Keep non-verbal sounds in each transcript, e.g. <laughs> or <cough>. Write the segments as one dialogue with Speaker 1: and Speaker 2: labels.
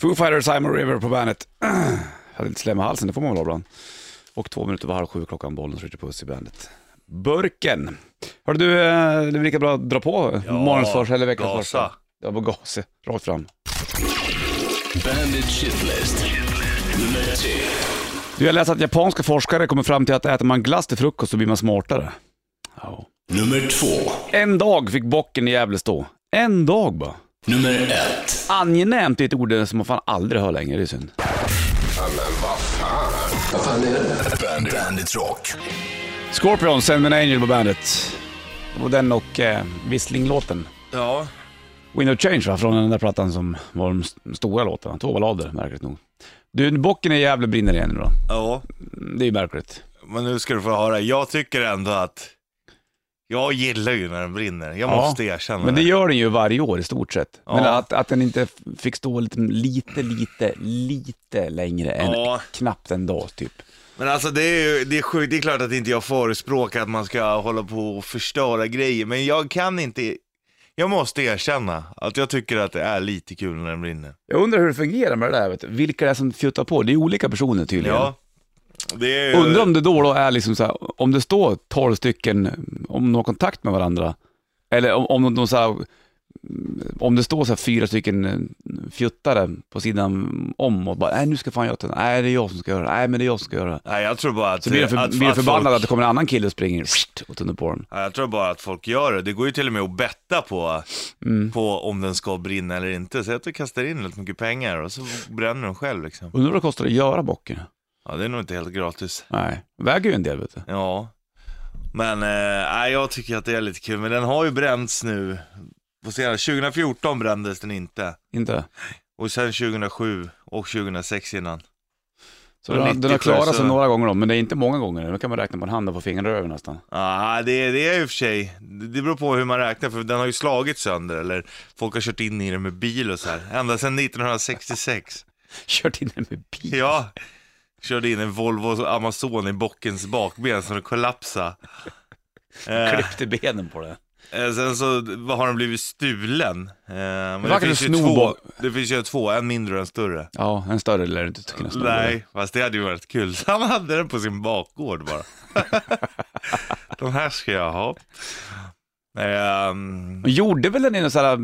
Speaker 1: Foo Fighters, I'm a River på bandet. <clears throat> Jag hade lite slem i halsen, det får man väl ha ibland. Och två minuter var halv sju klockan, Bollnäs Ritchie Puss i bandet. Burken. Hör du, eh, det är väl lika bra att dra på
Speaker 2: Ja,
Speaker 1: morgonens första eller veckans
Speaker 2: gasa.
Speaker 1: första. Ja, bara gasa. Rakt fram.
Speaker 3: Bandit Shitlist. Nummer tre.
Speaker 1: Du, jag läste att japanska forskare kommer fram till att äter man glass till frukost så blir man smartare. Ja.
Speaker 3: Nummer två.
Speaker 1: En dag fick bocken i Gävle stå. En dag bara.
Speaker 3: Nummer ett.
Speaker 1: Angenämt är ett ord som man fan aldrig hör längre, det är synd.
Speaker 3: Vad fan är det? Bandit, Bandit Rock.
Speaker 1: Scorpion, Send Me An Angel på bandet. Det var den och eh, Whistling-låten.
Speaker 2: Ja,
Speaker 1: Window Change va, från den där plattan som var de s- stora låtarna. Två ballader, märkligt nog. Du, bocken i Gävle brinner igen nu då.
Speaker 2: ja.
Speaker 1: Mm, Det är ju märkligt.
Speaker 2: Men nu ska du få höra. Jag tycker ändå att... Jag gillar ju när den brinner. Jag
Speaker 1: Ja,
Speaker 2: måste erkänna
Speaker 1: Men det
Speaker 2: det.
Speaker 1: gör den ju varje år i stort sett.
Speaker 2: Ja.
Speaker 1: Men att, att den inte f- fick stå lite, lite, lite, lite längre än
Speaker 2: Ja.
Speaker 1: knappt en dag typ.
Speaker 2: Men alltså det är ju, det är sjukt. Det är klart att inte jag förespråkar att man ska hålla på och förstöra grejer. Men jag kan inte... Jag måste erkänna att jag tycker att det är lite kul när den brinner.
Speaker 1: Jag undrar hur det fungerar med det där, vet du. vilka det är som fjuttar på. Det är olika personer tydligen.
Speaker 2: Ja. Det är ju...
Speaker 1: Undrar om det då, då är liksom så här, om det står 12 stycken, om de har kontakt med varandra, eller om, om de så här, om det står så här fyra stycken eh, fjuttare på sidan om och bara, nej nu ska fan jag ta den, nej det är jag som ska göra det, nej men det är jag som ska göra det.
Speaker 2: Nej, jag tror bara att...
Speaker 1: Så blir de för,
Speaker 2: att,
Speaker 1: blir de förbannade att
Speaker 2: folk...
Speaker 1: det kommer en annan kille och springer och tänder på den.
Speaker 2: Ja, jag tror bara att folk gör det. Det går ju till och med att betta på, på om den ska brinna eller inte. Så jag tror jag kastar in lite mycket pengar och så bränner den själv liksom.
Speaker 1: Undrar vad det kostar att göra bocken?
Speaker 2: Ja, det är nog inte helt gratis.
Speaker 1: Nej, väger ju en del vet du.
Speaker 2: Ja. Men eh, nej, jag tycker att det är lite kul. Men den har ju bränts nu. På senare. 2014 brändes den inte.
Speaker 1: Inte?
Speaker 2: Och sen 2007 och 2006 innan.
Speaker 1: Så
Speaker 2: Och
Speaker 1: den, har-
Speaker 2: 90
Speaker 1: den har
Speaker 2: tror
Speaker 1: klarat
Speaker 2: jag,
Speaker 1: sig
Speaker 2: så-
Speaker 1: några gånger om, men det är inte många gånger. Nu kan man räkna på en hand och få fingrarna över nästan. <laughs>
Speaker 2: Ja, det, det är i och för sig. Det beror på hur man räknar, för den har ju slagit sönder. Eller folk har kört in i den med bil och så här. Ända sedan 1966.
Speaker 1: Kört in den med bil.
Speaker 2: <laughs> Ja, körde in en Volvo Amazon i bockens bakben så den kollapsade.
Speaker 1: <laughs>
Speaker 2: Eh,
Speaker 1: Klippte benen på den.
Speaker 2: eh, sen så vad har den blivit stulen. Eh, men
Speaker 1: verkar
Speaker 2: det, finns
Speaker 1: det
Speaker 2: ju
Speaker 1: sno
Speaker 2: två,
Speaker 1: bak-
Speaker 2: det finns ju två, en mindre och en större.
Speaker 1: Ja, en större lär du inte kunna stå med.
Speaker 2: Nej, fast det hade ju varit kul. <laughs> Han hade den på sin
Speaker 1: <laughs>
Speaker 2: bakgård bara. De här ska jag ha. Ehm,
Speaker 1: De gjorde väl den i någon sån här,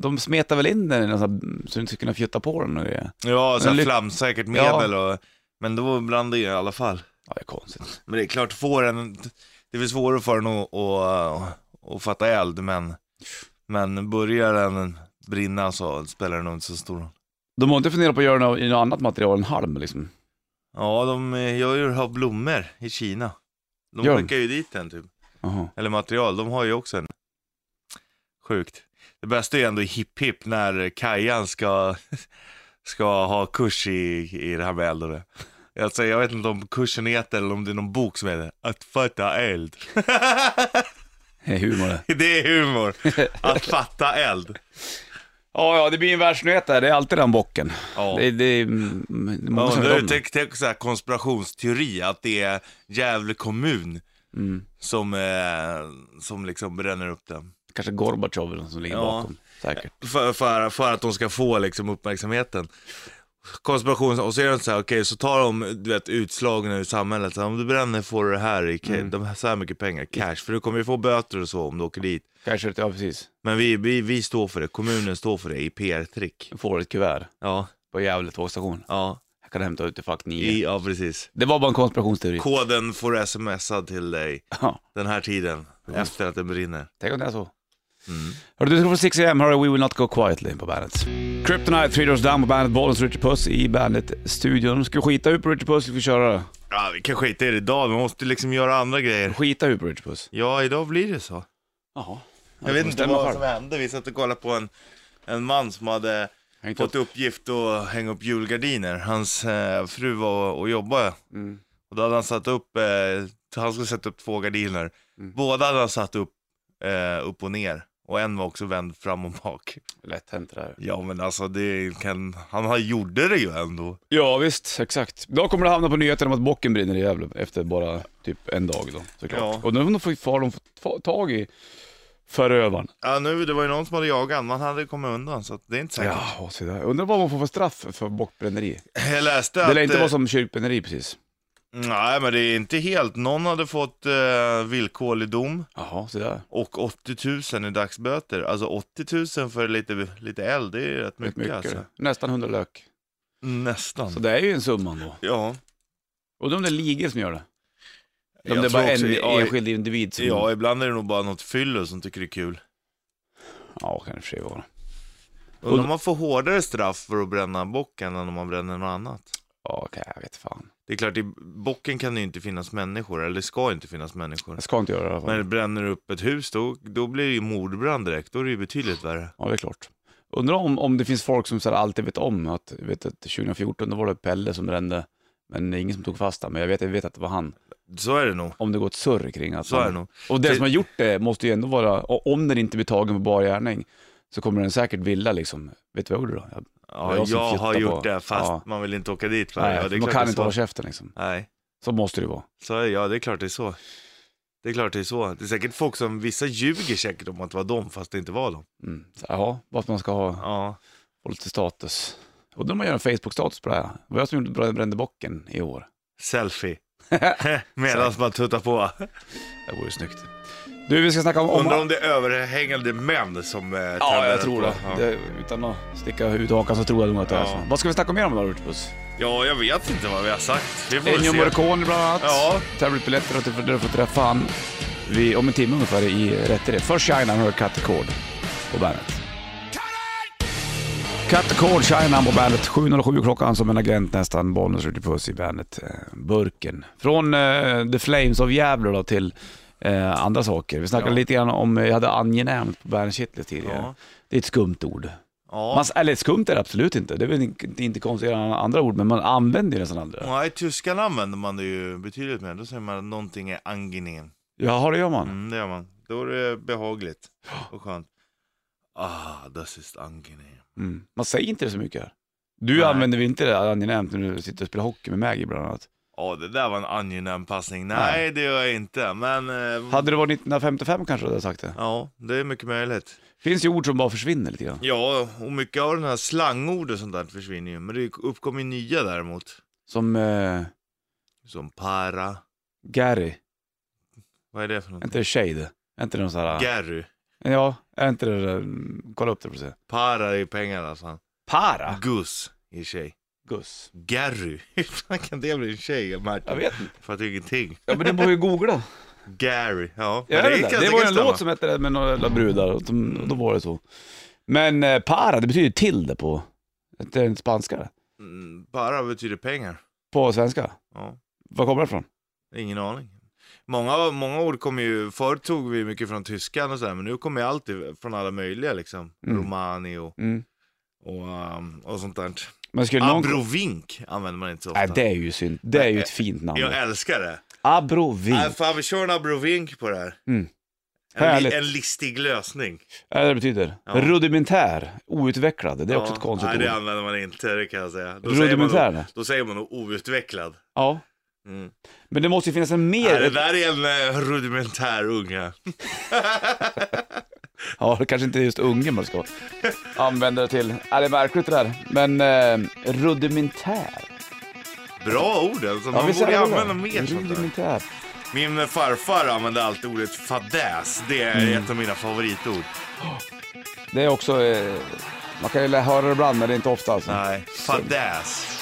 Speaker 1: de smetade väl in den i någon sån här, så du inte skulle kunna fjutta på den och grejer.
Speaker 2: ja, så
Speaker 1: Men
Speaker 2: här
Speaker 1: ly-
Speaker 2: flamsäkert medel och, men då blandade jag i alla fall.
Speaker 1: Ja, det är konstigt.
Speaker 2: Men det är klart, får den, det är väl svårare för den att, att, att fatta eld, men, men börjar den brinna så spelar det nog inte så stor roll.
Speaker 1: De har inte funderat på att göra något, i något annat material än halm liksom.
Speaker 2: Ja, de eh, gör ju har blommor i Kina. De
Speaker 1: Gör de?
Speaker 2: skickar ju dit den typ,
Speaker 1: Jaha.
Speaker 2: eller material, de har ju också en. Sjukt. Det bästa är ju ändå hipp hipp när Kajan ska, ska ha kurs i, i det här med eld och det. Alltså, jag vet inte om kursen heter eller om det är någon bok som heter Att fatta eld. <laughs>
Speaker 1: Det är humor det.
Speaker 2: Det är humor. Att fatta eld.
Speaker 1: Ja, ja, det blir en världsnyhet där. Det är alltid den bocken.
Speaker 2: Ja.
Speaker 1: Det, det, mm, det är många
Speaker 2: Man
Speaker 1: som vet
Speaker 2: undrar
Speaker 1: om det.
Speaker 2: tänk, tänk så här konspirationsteori, att det är Gävle kommun
Speaker 1: Mm.
Speaker 2: som, eh, som liksom bränner upp den.
Speaker 1: Kanske Gorbatjov eller någon som ligger
Speaker 2: Ja.
Speaker 1: bakom. Säkert.
Speaker 2: För, för, för att de ska få liksom uppmärksamheten. Konspiration, och så är det så här, okej, så tar de du vet, utslagna ur samhället. Så här, om du bränner får du det här, i,
Speaker 1: Mm.
Speaker 2: ca- de här, så här mycket pengar, cash. För du kommer ju få böter och så om du åker dit.
Speaker 1: Kanske, ja precis.
Speaker 2: Men vi, vi, vi står för det, kommunen står för det i PR-trick.
Speaker 1: Får ett kuvert
Speaker 2: Ja,
Speaker 1: på Gävle tågstation.
Speaker 2: ja,
Speaker 1: Jag kan hämta ut det fuck 9.
Speaker 2: i, ja precis.
Speaker 1: Det var bara en konspirationsteori.
Speaker 2: Koden får smsad till dig
Speaker 1: Ja.
Speaker 2: den här tiden, efter att det brinner.
Speaker 1: Tänk om det är så. Hörru, du ska få 6 am, hörru, We Will Not Go Quietly på bandet. Kryptonite, Three Doors Down på bandet, Bollens Richard Puss i bandet-studion. Ska vi skita ut på Richard Puss, vi ska köra.
Speaker 2: Ja, vi kan skita i det idag, vi måste liksom göra andra grejer.
Speaker 1: Skita ut på Richard Puss.
Speaker 2: Ja, idag blir det så.
Speaker 1: Jaha.
Speaker 2: Jag vet inte vad som hände, vi satt och kollade på en, en man som hade
Speaker 1: Hängt
Speaker 2: fått uppgift att hänga upp julgardiner. Hans eh, fru var och jobbade
Speaker 1: Mm.
Speaker 2: och då hade han satt upp, eh, han skulle sätta upp två gardiner. Båda hade han satt upp, eh, upp och ner och en var också vänd fram och bak.
Speaker 1: Lätt hänt det där.
Speaker 2: Ja men alltså det kan, han har- gjorde det ju ändå.
Speaker 1: Ja visst, exakt. Då kommer det hamna på nyheterna om att bocken brinner i Gävle efter bara typ en dag då såklart.
Speaker 2: Ja.
Speaker 1: Och nu har de fått- har de fått ta- tag i förövaren.
Speaker 2: Ja, nu, det var ju någon som hade jagat han, man hade kommit undan så att det är inte säkert.
Speaker 1: Ja, så där. Undrar vad man får för straff för bockbränneri.
Speaker 2: Jag läste att...
Speaker 1: Det lär inte
Speaker 2: eh,
Speaker 1: vara som kyrkbränneri precis.
Speaker 2: Nej, men det är inte helt. Någon hade fått eh, villkorlig dom
Speaker 1: Jaha, så där.
Speaker 2: och 80 000 i dagsböter. Alltså 80 000 för lite, lite eld, det är ju rätt mycket,
Speaker 1: Mycket, mycket.
Speaker 2: alltså.
Speaker 1: Nästan 100 lök.
Speaker 2: Nästan.
Speaker 1: Så det är ju en summa ändå.
Speaker 2: Ja.
Speaker 1: Undrar om det är ligor som gör det. Om
Speaker 2: Jag
Speaker 1: det är bara
Speaker 2: tror också-
Speaker 1: en
Speaker 2: ja,
Speaker 1: enskild individ som...
Speaker 2: Ja, ibland är det nog bara något fyllo som tycker det är kul.
Speaker 1: ja kan det i och för sig vara.
Speaker 2: Undrar om man får hårdare straff för att bränna bocken än om man bränner något annat.
Speaker 1: Ja, okej, jag vet fan.
Speaker 2: Det är klart, i bocken kan det ju inte finnas människor, eller det ska inte finnas människor.
Speaker 1: Jag ska inte göra det i alla fall.
Speaker 2: När det bränner upp ett hus, då, då blir det ju mordbrand direkt. Då är det ju betydligt värre.
Speaker 1: Ja, det är klart. Undrar om, om det finns folk som så här alltid vet om att, jag vet att 2014 då var det Pelle som brände, men det är ingen som tog fast honom. Men jag vet, jag vet att det var han.
Speaker 2: Så är det nog.
Speaker 1: Om det går ett surr kring att
Speaker 2: Så är det
Speaker 1: han,
Speaker 2: nog.
Speaker 1: Och den
Speaker 2: Det-
Speaker 1: som har gjort det måste ju ändå vara, och om den inte blir tagen på bar gärning, så kommer den säkert vilja liksom, vet du vad jag gjorde då? Jag,
Speaker 2: Ja,
Speaker 1: Det är
Speaker 2: jag,
Speaker 1: jag som fjuttar
Speaker 2: har
Speaker 1: på.
Speaker 2: gjort det, fast
Speaker 1: Ja.
Speaker 2: man vill inte åka dit för
Speaker 1: nej,
Speaker 2: det. Ja, det
Speaker 1: man
Speaker 2: är klart
Speaker 1: kan
Speaker 2: det är
Speaker 1: inte
Speaker 2: så.
Speaker 1: hålla käften liksom.
Speaker 2: Nej,
Speaker 1: Så måste det ju vara.
Speaker 2: så är, ja, det är klart det är så. Det är klart det är så. Det är säkert folk som, vissa ljuger säkert om att det var dem, fast det inte var dem.
Speaker 1: Mm. Så, jaha, varför man ska ha,
Speaker 2: Ja,
Speaker 1: få lite status. Och då man gör en Facebook-status på det här. Det var jag som gjorde brände bocken i år.
Speaker 2: selfie. <laughs> Medan man tuttar på.
Speaker 1: Det vore ju snyggt. Du, vi ska snacka om... om
Speaker 2: Undrar om det är överhängande män som eh,
Speaker 1: Ja,
Speaker 2: tänder
Speaker 1: jag
Speaker 2: på.
Speaker 1: tror det.
Speaker 2: Ja.
Speaker 1: det. Utan att sticka ut hakan så tror jag nog att det är
Speaker 2: Ja.
Speaker 1: så. Vad ska vi snacka mer om idag, Rutbus?
Speaker 2: Ja, jag vet inte vad vi har sagt. Vi får väl
Speaker 1: Ennio
Speaker 2: se.
Speaker 1: Morricone bland annat.
Speaker 2: Ja.
Speaker 1: Tävlingsbiljetter och du får träffa han vi, om en timme ungefär i Rätt i det. Först Shinan och Cut the Cord på bandet. Cut the Cord, Shinan på bandet. 7.07 klockan som en agent nästan. Bollnäs Ritchie Puss i bandet. eh, Burken. Från eh, The Flames of Gävle då till eh, andra saker. Vi snackade
Speaker 2: Ja.
Speaker 1: lite grann om, eh, jag hade angenämt på bandet Shitlist tidigare.
Speaker 2: Ja.
Speaker 1: Det är ett skumt ord.
Speaker 2: Ja.
Speaker 1: Man, eller skumt är det absolut inte, det är väl inte, inte konstigt än andra ord, men man använder ju nästan andra.
Speaker 2: Ja, I Tyskland använder man det ju betydligt mer. Då säger man att någonting är angenehm.
Speaker 1: Jaha, det gör man.
Speaker 2: Mm, det gör man. Då är det behagligt och skönt. Ah, das ist angenehm.
Speaker 1: Mm. Man säger inte det så mycket här. Du
Speaker 2: Nej.
Speaker 1: använder väl inte det här angenämt när du sitter och spelar hockey med Maggie bland annat?
Speaker 2: Ja, det där var en angenäm passning. Nej,
Speaker 1: Nej.
Speaker 2: det gör jag inte. Men eh,
Speaker 1: Hade det varit 1955 kanske du hade sagt det.
Speaker 2: ja, det är mycket möjligt.
Speaker 1: finns ju ord som bara försvinner lite grann.
Speaker 2: Ja, och mycket av den här slangord och sånt där försvinner ju. Men det uppkommer ju nya däremot.
Speaker 1: Som eh,
Speaker 2: Som para.
Speaker 1: Gary,
Speaker 2: Vad är det för något?
Speaker 1: är inte det shade? Är inte det någon sån här...
Speaker 2: Gary.
Speaker 1: ja, är inte det... mm, Kolla upp det för att se.
Speaker 2: Para är ju pengar alltså.
Speaker 1: Para?
Speaker 2: Guss är tjej.
Speaker 1: Guss.
Speaker 2: Gary. <laughs> Hur fan kan det bli en tjej, Martin?
Speaker 1: Jag vet inte.
Speaker 2: Fattar ju ingenting.
Speaker 1: Ja, men du borde ju googla.
Speaker 2: Gary, ja.
Speaker 1: <laughs> Ja, det,
Speaker 2: Men är
Speaker 1: det,
Speaker 2: ganska
Speaker 1: var ju en
Speaker 2: stämma.
Speaker 1: låt som hette det med några jävla brudar och, de, och då var det så. Men eh, para, det betyder till det på, det är inte spanska det.
Speaker 2: Mm, Para betyder pengar.
Speaker 1: På svenska.
Speaker 2: Ja,
Speaker 1: Var kommer det ifrån?
Speaker 2: ingen aning. Många, många ord kommer ju, förr tog vi mycket från tyskan och sådär, men nu kommer ju allt i- från alla möjliga liksom.
Speaker 1: Mm.
Speaker 2: Romani och,
Speaker 1: Mm.
Speaker 2: och, um, och sånt där.
Speaker 1: Men skulle någon...
Speaker 2: Abrovink använder man inte så ofta.
Speaker 1: Nej, det är ju synd. Det är ju ett fint namn.
Speaker 2: Jag älskar det.
Speaker 1: Abrovink.
Speaker 2: Nej, fan, vi kör en abrovink på det här.
Speaker 1: Mm.
Speaker 2: En,
Speaker 1: Härligt.
Speaker 2: li- en listig lösning.
Speaker 1: Ja, det betyder
Speaker 2: Ja.
Speaker 1: rudimentär, outvecklad. Det är också
Speaker 2: Ja,
Speaker 1: ett konstigt
Speaker 2: nej,
Speaker 1: ord.
Speaker 2: det använder man inte, det kan jag säga. Då säger man,
Speaker 1: Rudimentär.
Speaker 2: nog-
Speaker 1: det.
Speaker 2: då säger man nog outvecklad.
Speaker 1: Ja.
Speaker 2: Mm.
Speaker 1: Men det måste ju finnas en mer...
Speaker 2: Nej, det där är en eh, rudimentär unga.
Speaker 1: Ja, det kanske inte är just unge man ska
Speaker 2: <laughs>
Speaker 1: använda det till. Ja, det är märkligt det där. Men eh, rudimentär.
Speaker 2: Bra ord alltså,
Speaker 1: Ja,
Speaker 2: man
Speaker 1: visst är
Speaker 2: borde
Speaker 1: det bra?
Speaker 2: använda mer sånt där.
Speaker 1: Rudimentär.
Speaker 2: Min farfar använde alltid ordet fadäs, det är ett av mina favoritord.
Speaker 1: Det är också... Eh, man kan ju lä- höra det ibland, men det är inte ofta alltså.
Speaker 2: Nej, fadäs.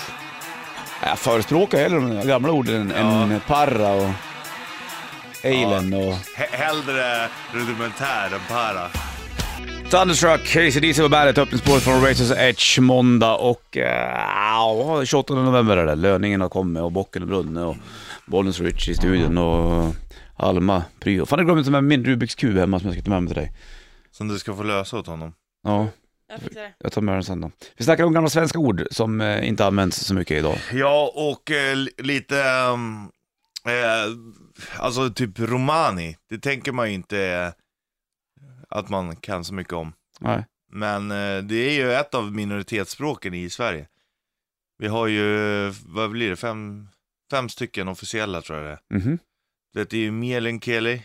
Speaker 1: Jag förespråkar hellre de gamla orden än
Speaker 2: Ja.
Speaker 1: parra och eilen och...
Speaker 2: He- hellre rudimentär än para.
Speaker 1: Thunderstruck, Casey DC på bandet, öppningsspåret från Razors Edge måndag och uh, 28 november är det. Löningen har kommit och bocken och brunne och Bollens Rich i studion och Alma, Pryo. Fan jag glömde ta med min Rubiks kub hemma som jag ska ta med mig till dig.
Speaker 2: Som du ska få lösa åt honom.
Speaker 1: Ja,
Speaker 4: Jag fixar det.
Speaker 1: jag tar med den sen då. Vi snackar om gamla svenska ord som eh, inte används så mycket idag.
Speaker 2: Ja, och eh, li- lite... ehm, eh, alltså typ romani, det tänker man ju inte eh, att man kan så mycket om.
Speaker 1: Nej.
Speaker 2: Men eh, det är ju ett av minoritetsspråken i Sverige. Vi har ju, eh, vad blir det, fem, fem stycken officiella tror jag det är.
Speaker 1: Mhm.
Speaker 2: Det är ju meänkieli,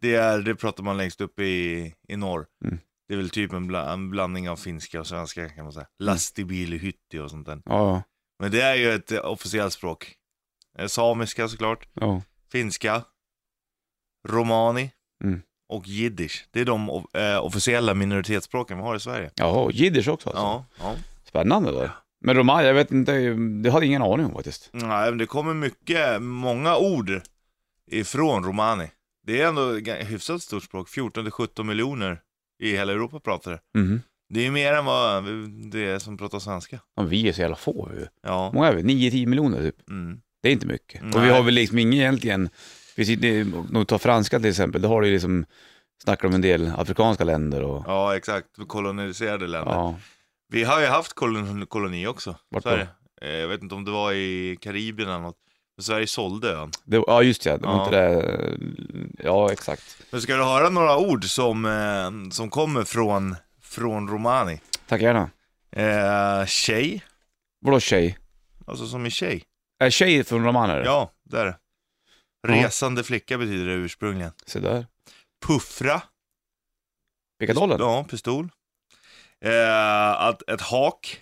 Speaker 2: Det, är, det pratar man längst upp i, i norr.
Speaker 1: Mm.
Speaker 2: Det är väl typ en, bla, en blandning av finska och svenska kan man säga.
Speaker 1: Mm.
Speaker 2: Lastibilhytti och sånt där.
Speaker 1: Ja,
Speaker 2: Men det är ju ett eh, officiellt språk. Eh, Samiska såklart,
Speaker 1: ja.
Speaker 2: finska, romani
Speaker 1: Mm.
Speaker 2: och jiddisch. Det är de o- eh, officiella minoritetsspråken vi har i Sverige.
Speaker 1: Jaha, jiddisch också alltså.
Speaker 2: Ja, ja.
Speaker 1: Spännande då. Men romani, jag vet inte, det hade jag ingen aning om faktiskt.
Speaker 2: Nej, men det kommer mycket, många ord ifrån romani. Det är ändå ett ga- hyfsat stort språk, 14-17 miljoner i hela Europa pratar det.
Speaker 1: Mhm.
Speaker 2: Det är ju mer än vad vi- det är som pratar svenska.
Speaker 1: Ja, vi är så jävla få. vi.
Speaker 2: Ja.
Speaker 1: Många är vi? 9-10 miljoner typ.
Speaker 2: Mm.
Speaker 1: Det är inte mycket.
Speaker 2: Nej.
Speaker 1: Och vi har väl liksom ingen egentligen, vi sitter, om du tar franska till exempel, då har du ju liksom, snackar om en del afrikanska länder och,
Speaker 2: ja, exakt. Koloniserade länder.
Speaker 1: ja.
Speaker 2: Vi har ju haft kolon, koloni också.
Speaker 1: Vart då?
Speaker 2: Sverige. Eh, Jag vet inte om det var i Karibien eller något. Men Sverige sålde ön.
Speaker 1: Det, ja just ja, det var
Speaker 2: Ja.
Speaker 1: inte det, ja exakt.
Speaker 2: Men ska du höra några ord som, eh, som kommer från, från romani?
Speaker 1: Tack gärna.
Speaker 2: Eh, tjej,
Speaker 1: Vadå tjej?
Speaker 2: alltså som i tjej.
Speaker 1: Är tjej från romaner?
Speaker 2: Ja, där. är det.
Speaker 1: Ja.
Speaker 2: Resande flicka betyder det ursprungligen.
Speaker 1: Se där.
Speaker 2: Puffra.
Speaker 1: Pickadollen?
Speaker 2: Ja, pistol. Eh, att, ett hak.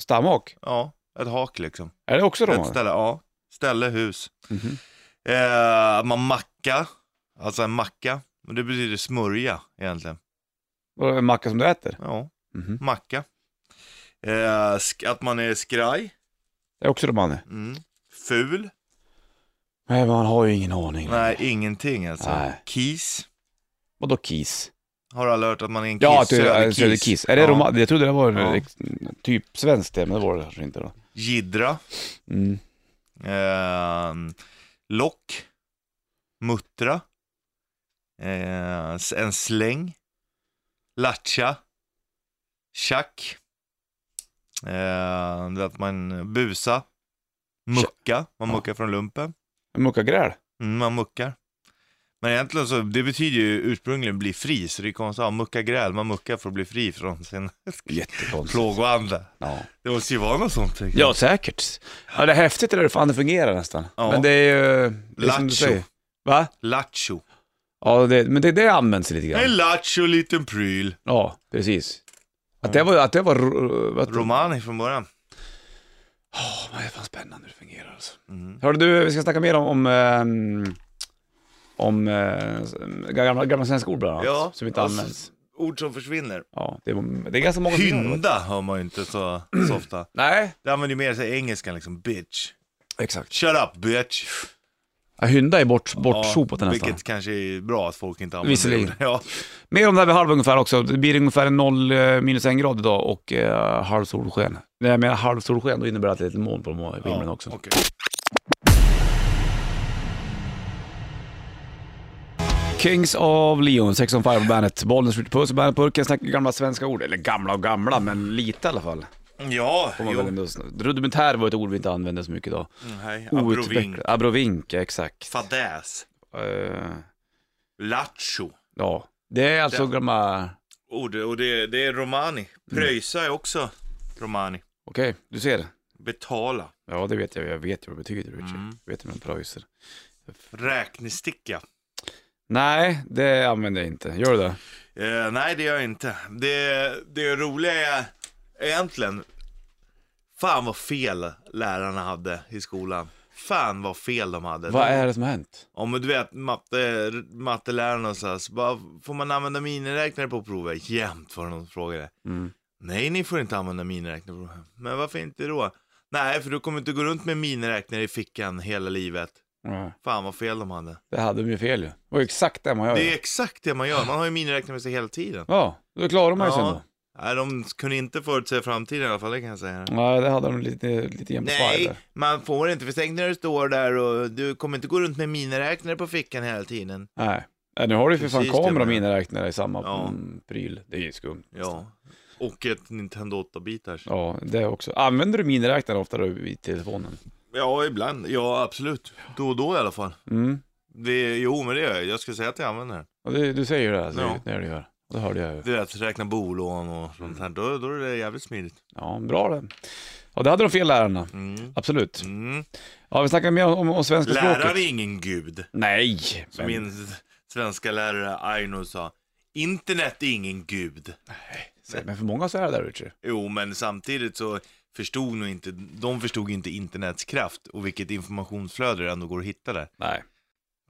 Speaker 1: Stamhak?
Speaker 2: Ja, ett hak liksom.
Speaker 1: Är det också
Speaker 2: Ett
Speaker 1: romaner?
Speaker 2: ställe, ja. Ställe, hus.
Speaker 1: Mhm.
Speaker 2: Eh, att man macka, alltså en macka. Men det betyder smörja egentligen.
Speaker 1: Vadå, en macka som du äter?
Speaker 2: Ja,
Speaker 1: Mhm.
Speaker 2: macka. Eh, sk- att man är skraj.
Speaker 1: Det är också romaner.
Speaker 2: Mm. Ful.
Speaker 1: Nej, man har ju ingen aning.
Speaker 2: Nej, ingenting alltså.
Speaker 1: Nej.
Speaker 2: Kis.
Speaker 1: Vadå kiss?
Speaker 2: Har alla hört att man är en kiss?
Speaker 1: Ja, du,
Speaker 2: Söderkis.
Speaker 1: Söderkiss. Är det roman? Jag trodde det var
Speaker 2: Ja.
Speaker 1: ex- typ svenskt det, men det var det kanske inte då.
Speaker 2: Jiddra.
Speaker 1: Mm.
Speaker 2: Eh, lock. Muttra. Eh, s- en släng. Latcha. Tjack. Eh, det är att man busa. Mucka. Man
Speaker 1: Ja.
Speaker 2: muckar från lumpen.
Speaker 1: Mucka gräl?
Speaker 2: Mm, man muckar. Men egentligen så, det betyder ju ursprungligen bli fri, så det är konstigt. Ja, mucka gräl, man muckar för att bli fri från sin <laughs>
Speaker 1: Jättekonstigt.
Speaker 2: plågoande.
Speaker 1: Ja.
Speaker 2: Det måste ju vara något sånt. tänker jag.
Speaker 1: ja, säkert. Ja, det är häftigt det där, fan det fungerar nästan.
Speaker 2: Ja.
Speaker 1: Men det är ju... Det är som du
Speaker 2: Lattjo.
Speaker 1: säger. Va?
Speaker 2: Lattjo.
Speaker 1: Ja, det, men det, det används lite grann.
Speaker 2: En lattjo liten pryl.
Speaker 1: Ja, precis. Att det var... Att det var ro- att,
Speaker 2: Romani från början.
Speaker 1: Åh, vad är fan spännande hur det fungerar alltså.
Speaker 2: Mm.
Speaker 1: Hörru du, vi ska snacka mer om, om, ehm, om eh, gamla, gamla svenska ord bland annat,
Speaker 2: Ja, Alltså.
Speaker 1: som inte
Speaker 2: ja,
Speaker 1: används.
Speaker 2: Ord som försvinner.
Speaker 1: Ja, det, är, det är ganska många som gör det.
Speaker 2: Hynda hör man ju inte så, så ofta.
Speaker 1: Nej,
Speaker 2: Det använder ju mer sig engelskan liksom, bitch.
Speaker 1: exakt.
Speaker 2: Shut up bitch.
Speaker 1: Ja, hynda är bort, bortsopat
Speaker 2: Ja,
Speaker 1: nästan.
Speaker 2: Vilket kanske är bra att folk inte använder
Speaker 1: Visserligen.
Speaker 2: det. Ja.
Speaker 1: Mer om det här vid halv ungefär också. Det blir ungefär noll, eh, minus en grad idag och eh, halv solsken. När jag menar halv solsken, då innebär det att det är lite moln på himlen
Speaker 2: Ja,
Speaker 1: också.
Speaker 2: okej.
Speaker 1: Kings of Leon, 6 on 5 på bandet. Bollnäs skjuter puss, bandet-burken snackar gamla svenska ord. Eller gamla och gamla, men lite i alla fall.
Speaker 2: Ja,
Speaker 1: Får man väl
Speaker 2: jo. Mm,
Speaker 1: ändå sn- Rudimentär var ett ord vi inte använder så mycket idag.
Speaker 2: Nej, abrovink.
Speaker 1: Outvecklat. Abrovink, ja, exakt.
Speaker 2: Fadäs.
Speaker 1: Eh,
Speaker 2: Lattjo.
Speaker 1: ja, det är alltså gamla...
Speaker 2: Ord, och Oh, det, det är
Speaker 1: Mm.
Speaker 2: romani. Pröjsa är också romani.
Speaker 1: Okej, du ser.
Speaker 2: Betala.
Speaker 1: Ja, det vet jag. Jag vet ju vad det betyder, Richard. Jag vet hur man pröjsar.
Speaker 2: Räknesticka.
Speaker 1: Nej, det använder jag inte. Gör du det?
Speaker 2: Eh, nej, det gör jag inte. Det, det roliga är egentligen, fan vad fel lärarna hade i skolan. Fan vad fel de hade.
Speaker 1: Vad är det som har hänt?
Speaker 2: Ja men du vet matte, mattelärarna och sådär, så bara, får man använda miniräknare på provet? Jämt var det någon som frågade.
Speaker 1: Mm.
Speaker 2: Nej ni får inte använda miniräknare på provet. Men varför inte då? Nej för du kommer inte gå runt med miniräknare i fickan hela livet.
Speaker 1: Ja,
Speaker 2: Fan vad fel de hade.
Speaker 1: det hade de ju fel ju. Det var ju exakt det man gör.
Speaker 2: Det är
Speaker 1: ju.
Speaker 2: exakt det man gör, man har ju miniräknare med sig hela tiden.
Speaker 1: Ja, då klarar man ju sen då.
Speaker 2: Ja. Nej, de kunde inte förutse framtiden i alla fall, det kan jag säga.
Speaker 1: Nej, det hade de lite, lite jämnt svaj
Speaker 2: Nej,
Speaker 1: där.
Speaker 2: man får inte, för tänk när du står där och du kommer inte gå runt med miniräknare på fickan hela tiden.
Speaker 1: Nej. Nej, nu har du ju för fan
Speaker 2: Precis det
Speaker 1: kamera och
Speaker 2: jag menar.
Speaker 1: miniräknare i samma
Speaker 2: Ja.
Speaker 1: mm, pryl. Det är ju skumt.
Speaker 2: Ja. Och ett Nintendo 8-bitars. Ja.
Speaker 1: Ja, det också. Använder du miniräknare oftare i telefonen?
Speaker 2: ibland. Ja, absolut. Då och då i alla fall.
Speaker 1: Mm.
Speaker 2: Det, jo, men det gör jag. Jag skulle säga att jag använder den.
Speaker 1: Ja, det, du säger ju det, alltså,
Speaker 2: Ja.
Speaker 1: det är det du gör. Det hörde jag ju.
Speaker 2: Du vet, räkna bolån och sånt här. Då, då är det jävligt smidigt.
Speaker 1: Ja, bra det. Ja, det hade de fel lärarna.
Speaker 2: Mm.
Speaker 1: Absolut.
Speaker 2: Mm.
Speaker 1: Ja, vi snackar mer om, om svenska
Speaker 2: Lärare
Speaker 1: språket.
Speaker 2: är ingen gud.
Speaker 1: Nej,
Speaker 2: Som
Speaker 1: men
Speaker 2: in, svenska lärare Aino sa internet är ingen gud.
Speaker 1: Så, men för många så är det där, Richard.
Speaker 2: Jo, men samtidigt så förstod nog inte, de förstod ju inte internets kraft och vilket informationsflöde det ändå går att hitta där.
Speaker 1: Nej.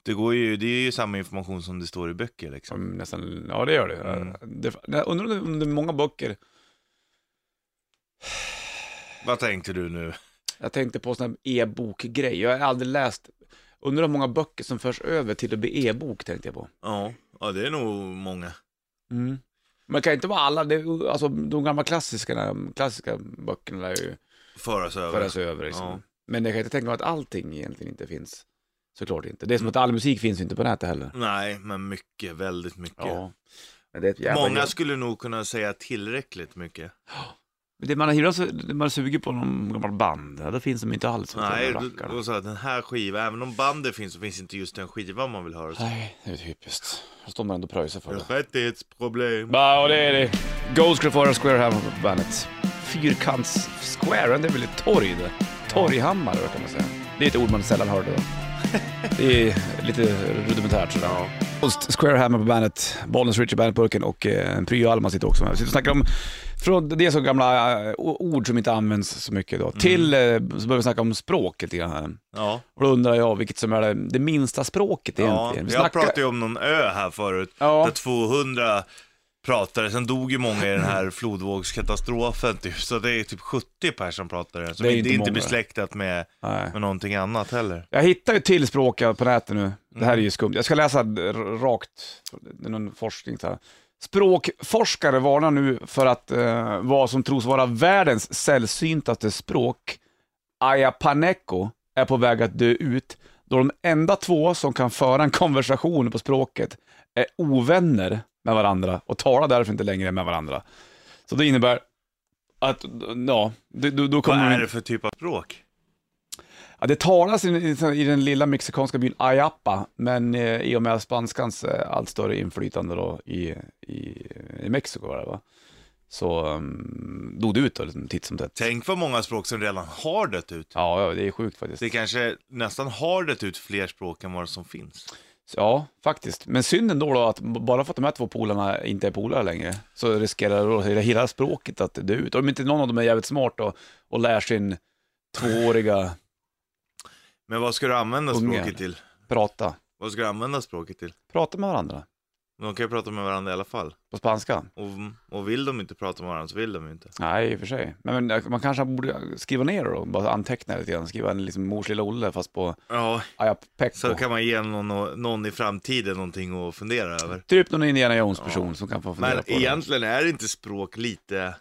Speaker 2: Det, går ju, det är ju samma information som det står i böcker liksom.
Speaker 1: Som nästan, ja det gör det.
Speaker 2: Mm.
Speaker 1: det jag undrar om det- om det är många böcker.
Speaker 2: Vad tänkte du nu?
Speaker 1: Jag tänkte på sån här e-bokgrej. Jag har aldrig läst. Undrar hur många böcker som förs över till att bli e-bok, tänkte jag på.
Speaker 2: Ja, ja det är nog många.
Speaker 1: Mm. Men det kan inte vara alla, det, är- alltså de gamla klassiska, klassiska böckerna lär ju
Speaker 2: Föras över.
Speaker 1: föras över. Liksom.
Speaker 2: Ja.
Speaker 1: Men jag kan inte tänka mig att allting egentligen inte finns. Såklart inte.
Speaker 2: Mm.
Speaker 1: Det är som att all musik finns ju inte på nätet heller.
Speaker 2: Nej, men mycket, väldigt mycket.
Speaker 1: Men det är ett jävla
Speaker 2: många
Speaker 1: jobb.
Speaker 2: skulle nog kunna säga tillräckligt mycket.
Speaker 1: Det man, gillar, så- det man suger på någon gammal band, ja, då finns de inte alls.
Speaker 2: Nej,
Speaker 1: de
Speaker 2: då-
Speaker 1: rackarna.
Speaker 2: då sa jag den här skivan, även om bandet finns så finns inte just den skivan man vill höra.
Speaker 1: Nej, det är typiskt. Då står man ändå och pröjsar för det.
Speaker 2: Rättighetsproblem.
Speaker 1: Ja, och det är det. Ghost Graffara Square här på bandet. Fyrkants-squaren, det är väl ett torg det? Torghammare kan man säga. Det är ett ord man sällan hör
Speaker 2: <laughs>
Speaker 1: då. Det är lite rudimentärt sådär.
Speaker 2: Ja.
Speaker 1: Ghost Square Hammer på bandet, Bollnäs Richard Bandit-burken och eh, Pryo Alma sitter också med. Vi sitter och snackar om, från det är så gamla eh, o- ord som inte används så mycket
Speaker 2: Mm.
Speaker 1: idag, till eh, så börjar vi snacka om språk lite grann här.
Speaker 2: Ja,
Speaker 1: Och då undrar jag vilket som är det, det minsta språket
Speaker 2: ja.
Speaker 1: egentligen. Vi
Speaker 2: Jag
Speaker 1: snackar-
Speaker 2: pratade ju om någon ö här förut,
Speaker 1: Ja.
Speaker 2: där 200 pratade, sen dog ju många i
Speaker 1: <laughs>
Speaker 2: den här flodvågskatastrofen typ, så det är typ 70 personer som pratar, så
Speaker 1: Det
Speaker 2: det
Speaker 1: är
Speaker 2: är
Speaker 1: ju
Speaker 2: inte,
Speaker 1: inte många.
Speaker 2: besläktat med,
Speaker 1: Nej.
Speaker 2: med någonting annat heller.
Speaker 1: Jag hittar ju till språk på nätet nu. Det
Speaker 2: Mm.
Speaker 1: här är ju skumt. Jag ska läsa r- rakt, det är någon forskning så här. Språkforskare varnar nu för att eh, vad som tros vara världens sällsyntaste språk, ayapaneco, är på väg att dö ut då de enda två som kan föra en konversation på språket är ovänner med varandra och talar därför inte längre med varandra. Så det innebär att, ja, då, då- då kommer
Speaker 2: Vad
Speaker 1: de-
Speaker 2: är det för typ av språk?
Speaker 1: Ja, det talas i, i, i den lilla mexikanska byn Ayapa, men eh, i och med spanskans eh, allt större inflytande då i, i, i Mexiko var det, va? så um, dog det ut då, liksom, titt som tätt.
Speaker 2: Tänk vad många språk som redan har dött ut.
Speaker 1: Ja, ja, det är sjukt faktiskt.
Speaker 2: Det kanske nästan har dött ut fler språk än vad som finns.
Speaker 1: Ja, faktiskt. Men synden då, då att b- bara för att de här två polarna inte är polare längre, så riskerar då hela- hela språket att dö ut. Om inte någon av dem är jävligt smart då, och lär sin tvååriga
Speaker 2: Men vad ska du använda
Speaker 1: Ungar.
Speaker 2: språket till?
Speaker 1: prata,
Speaker 2: Vad ska du använda språket till?
Speaker 1: prata med varandra
Speaker 2: De kan ju prata med varandra i alla fall.
Speaker 1: på spanska.
Speaker 2: Och, och vill de inte prata med varandra så vill de ju inte.
Speaker 1: Nej, i och för sig. Men, men man kanske borde skriva ner det då, bara anteckna lite grann. Skriva en liksom mors lilla Olle fast på
Speaker 2: Ja,
Speaker 1: Ayapekko.
Speaker 2: så kan man ge någon, någon i framtiden någonting att fundera över.
Speaker 1: Typ någon Indiana Jones-person som kan få fundera
Speaker 2: Men
Speaker 1: på det.
Speaker 2: egentligen är inte språk lite...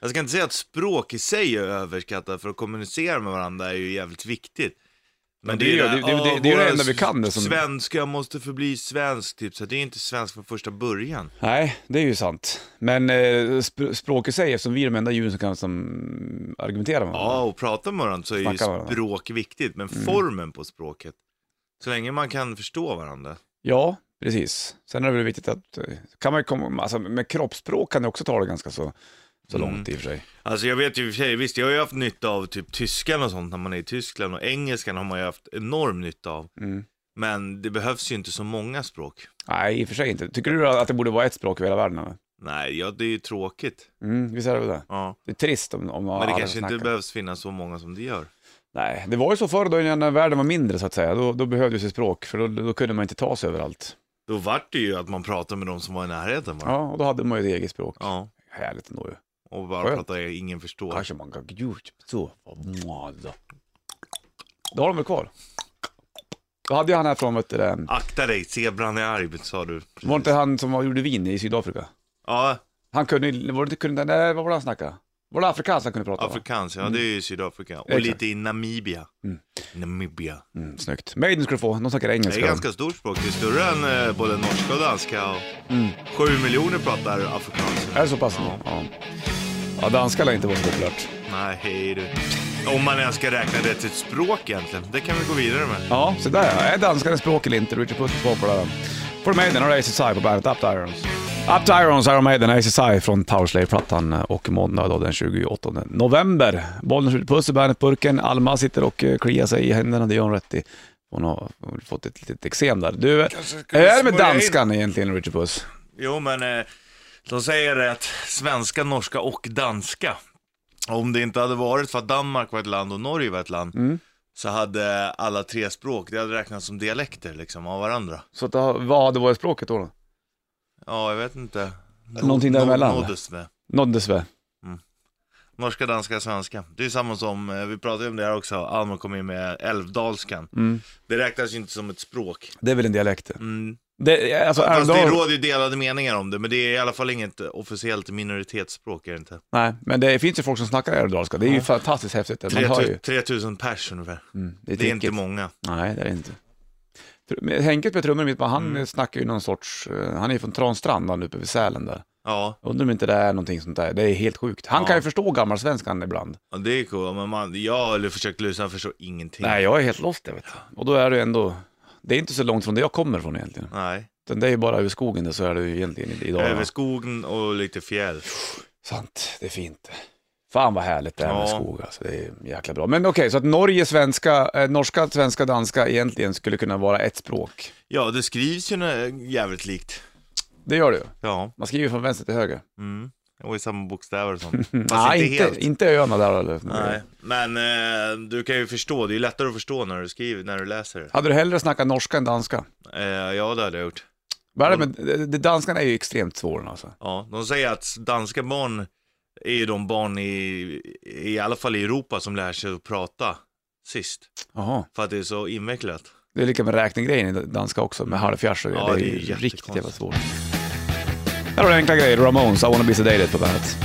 Speaker 2: Jag ska inte säga att språk i sig är överskattat, för att kommunicera med varandra är ju jävligt viktigt.
Speaker 1: Men det är ju- det- det- det- det är ju det
Speaker 2: "Åh,
Speaker 1: enda vi
Speaker 2: våra
Speaker 1: kan, det som-
Speaker 2: Svenska måste förbli svensk, typ. Så det är inte svensk från första början.
Speaker 1: Nej, det är ju sant. Men eh, sp- språket säger, eftersom vi är de enda djuren som kan som, argumentera med varandra.
Speaker 2: Ja, och prata med varandra så är ju
Speaker 1: Snacka med varandra. Mm.
Speaker 2: språk viktigt, men formen på språket. Så länge man kan förstå varandra.
Speaker 1: Ja, precis. Sen är det väl viktigt att, eh, kan man ju komma, alltså med kroppsspråk kan det också ta det ganska så, så långt i och för sig.
Speaker 2: Alltså jag vet ju i och för sig, visst jag har ju haft nytta av typ tyskan och sånt när man är i Tyskland och engelskan har man ju haft enorm nytta av.
Speaker 1: Mm.
Speaker 2: Men det behövs ju inte så många språk.
Speaker 1: Nej, i och för sig inte. Tycker du att det borde vara ett språk i hela världen? eller?
Speaker 2: Nej, ja det är ju tråkigt.
Speaker 1: Mm, visst är det väl det?
Speaker 2: Ja.
Speaker 1: Det är trist om, om
Speaker 2: Men det
Speaker 1: alla
Speaker 2: kanske inte
Speaker 1: snackar.
Speaker 2: behövs finnas så många som det gör.
Speaker 1: Nej, det var ju så förr då när världen var mindre så att säga. Då, då behövdes ju språk för då, då kunde man inte ta sig överallt.
Speaker 2: Då vart det ju att man pratade med de som var i närheten bara. Ja.
Speaker 1: Ja, och då hade man ju ett eget språk. Härligt ändå ju.
Speaker 2: Och bara
Speaker 1: Skönt.
Speaker 2: pratade, ingen förstår.
Speaker 1: Kanske man kan gjort så. Vad Då har de väl kvar. Då hade ju han här från, vet du, det,
Speaker 2: Akta dig, zebran är arg, sa du.
Speaker 1: var inte han som gjorde vin i Sydafrika?
Speaker 2: Ja,
Speaker 1: Han kunde, var det inte, kunde, nej, vad var det han snackade? Var det afrikanskt han kunde prata? va?
Speaker 2: afrikans, ja det är ju Sydafrika. Och
Speaker 1: Mm. Exakt.
Speaker 2: lite i Namibia. Namibia.
Speaker 1: Mm, snyggt. Maiden skulle du få, de snackar
Speaker 2: Det
Speaker 1: engelska.
Speaker 2: är ganska stort språk, det är större än eh, både norska och danska. Och Sju miljoner pratar
Speaker 1: Är
Speaker 2: afrikanska.
Speaker 1: det så pass? Ja. Ja. ja, danska lär inte vara så populärt.
Speaker 2: Nej, hej du. Om man ens ska räkna det till ett språk egentligen, det kan vi gå vidare med.
Speaker 1: Ja, så där ja. Är danskan ett språk eller inte? Richard Puss på det där. För Maiden och Aces High på bandet Up to Irons. Up to Irons, Iron Maiden, Aces High från Power Slave-plattan och måndag då den 28 november. Bollen skjuter puss i bandet-burken, Alma sitter och eh, kliar sig i händerna, det gör hon rätt i. Hon har fått ett litet eksem där. Du, eh,
Speaker 2: Kanske ska
Speaker 1: hur är det
Speaker 2: vi
Speaker 1: med
Speaker 2: smörja in-
Speaker 1: danskan egentligen, Richard Puss?
Speaker 2: Jo, men eh, de säger det att svenska, norska och danska. Om det inte hade varit för att Danmark var ett land och Norge var ett land,
Speaker 1: Mm?
Speaker 2: så hade eh, alla tre språk, det hade räknats som dialekter liksom av varandra.
Speaker 1: Så att, det har- vad hade varit språket då? då?
Speaker 2: Ja, jag vet inte. No-
Speaker 1: Någonting
Speaker 2: no-
Speaker 1: däremellan?
Speaker 2: nåddes med.
Speaker 1: Nåddes vi?
Speaker 2: Norska, danska, svenska. Det är samma som, eh, vi pratade om det här också, Alma kom in med älvdalskan.
Speaker 1: Mm.
Speaker 2: Det räknas ju inte som ett språk.
Speaker 1: Det är väl en dialekt?
Speaker 2: Mm.
Speaker 1: Det, alltså,
Speaker 2: Fast det
Speaker 1: Älvdal-
Speaker 2: råder ju delade meningar om det, men det är i alla fall inget officiellt minoritetsspråk. Är det inte?
Speaker 1: Nej, men det finns ju folk som snackar älvdalska. Det är ju
Speaker 2: Ja.
Speaker 1: fantastiskt häftigt. Man hör ju.
Speaker 2: 3000 3000 pers ungefär.
Speaker 1: Mm,
Speaker 2: Det är, inte
Speaker 1: tricket.
Speaker 2: många.
Speaker 1: Nej, det är det inte. Tr- men Henke på trummor mitt på, han
Speaker 2: Mm.
Speaker 1: snackar ju någon sorts, eh, han är ju från Transtrand, han är uppe vid Sälen där.
Speaker 2: Ja,
Speaker 1: Undrar om inte det är någonting sånt där, det är helt sjukt. Han
Speaker 2: Ja.
Speaker 1: kan ju förstå gammalsvenskan ibland.
Speaker 2: och det är coolt. Men man, jag har försökt lyssna, jag förstår ingenting.
Speaker 1: Nej, jag är helt lost jag vet. Och då är det ju ändå, det är inte så långt från där jag kommer från egentligen.
Speaker 2: Nej.
Speaker 1: Utan det är ju bara över skogen där så är det ju egentligen i- idag.
Speaker 2: Över skogen och lite fjäll.
Speaker 1: Sant, det är fint. Fan vad härligt det är med
Speaker 2: Ja.
Speaker 1: skog alltså, det är jäkla bra. Men okej, så att Norge, svenska, eh, norska, svenska, danska egentligen skulle kunna vara ett språk.
Speaker 2: Ja, det skrivs ju nä- jävligt likt.
Speaker 1: Det gör det ju.
Speaker 2: Ja,
Speaker 1: Man skriver från vänster till höger.
Speaker 2: mm. och i samma bokstäver
Speaker 1: <laughs>
Speaker 2: och sånt. Fast
Speaker 1: Nej, Ah, inte, inte, öarna där eller?
Speaker 2: Nej, men eh, du kan ju förstå. Det är ju lättare att förstå när du skriver, när du läser. det.
Speaker 1: Hade du hellre snackat norska än danska?
Speaker 2: Eh, ja, det hade jag gjort.
Speaker 1: Vad är det med, det, det, danskan är ju extremt svår alltså.
Speaker 2: Ja, de säger att danska barn är ju de barn i, i alla fall i Europa som lär sig att prata sist.
Speaker 1: Jaha.
Speaker 2: För att det är så invecklat.
Speaker 1: Det är lika med räknegrejen i danska också, med halvfjärs och
Speaker 2: Ja,
Speaker 1: det är
Speaker 2: det är
Speaker 1: ju riktigt jävla
Speaker 2: jättekonstigt.
Speaker 1: svårt. Här har du enkla grejer, Ramones, I wanna be sedated på bandet.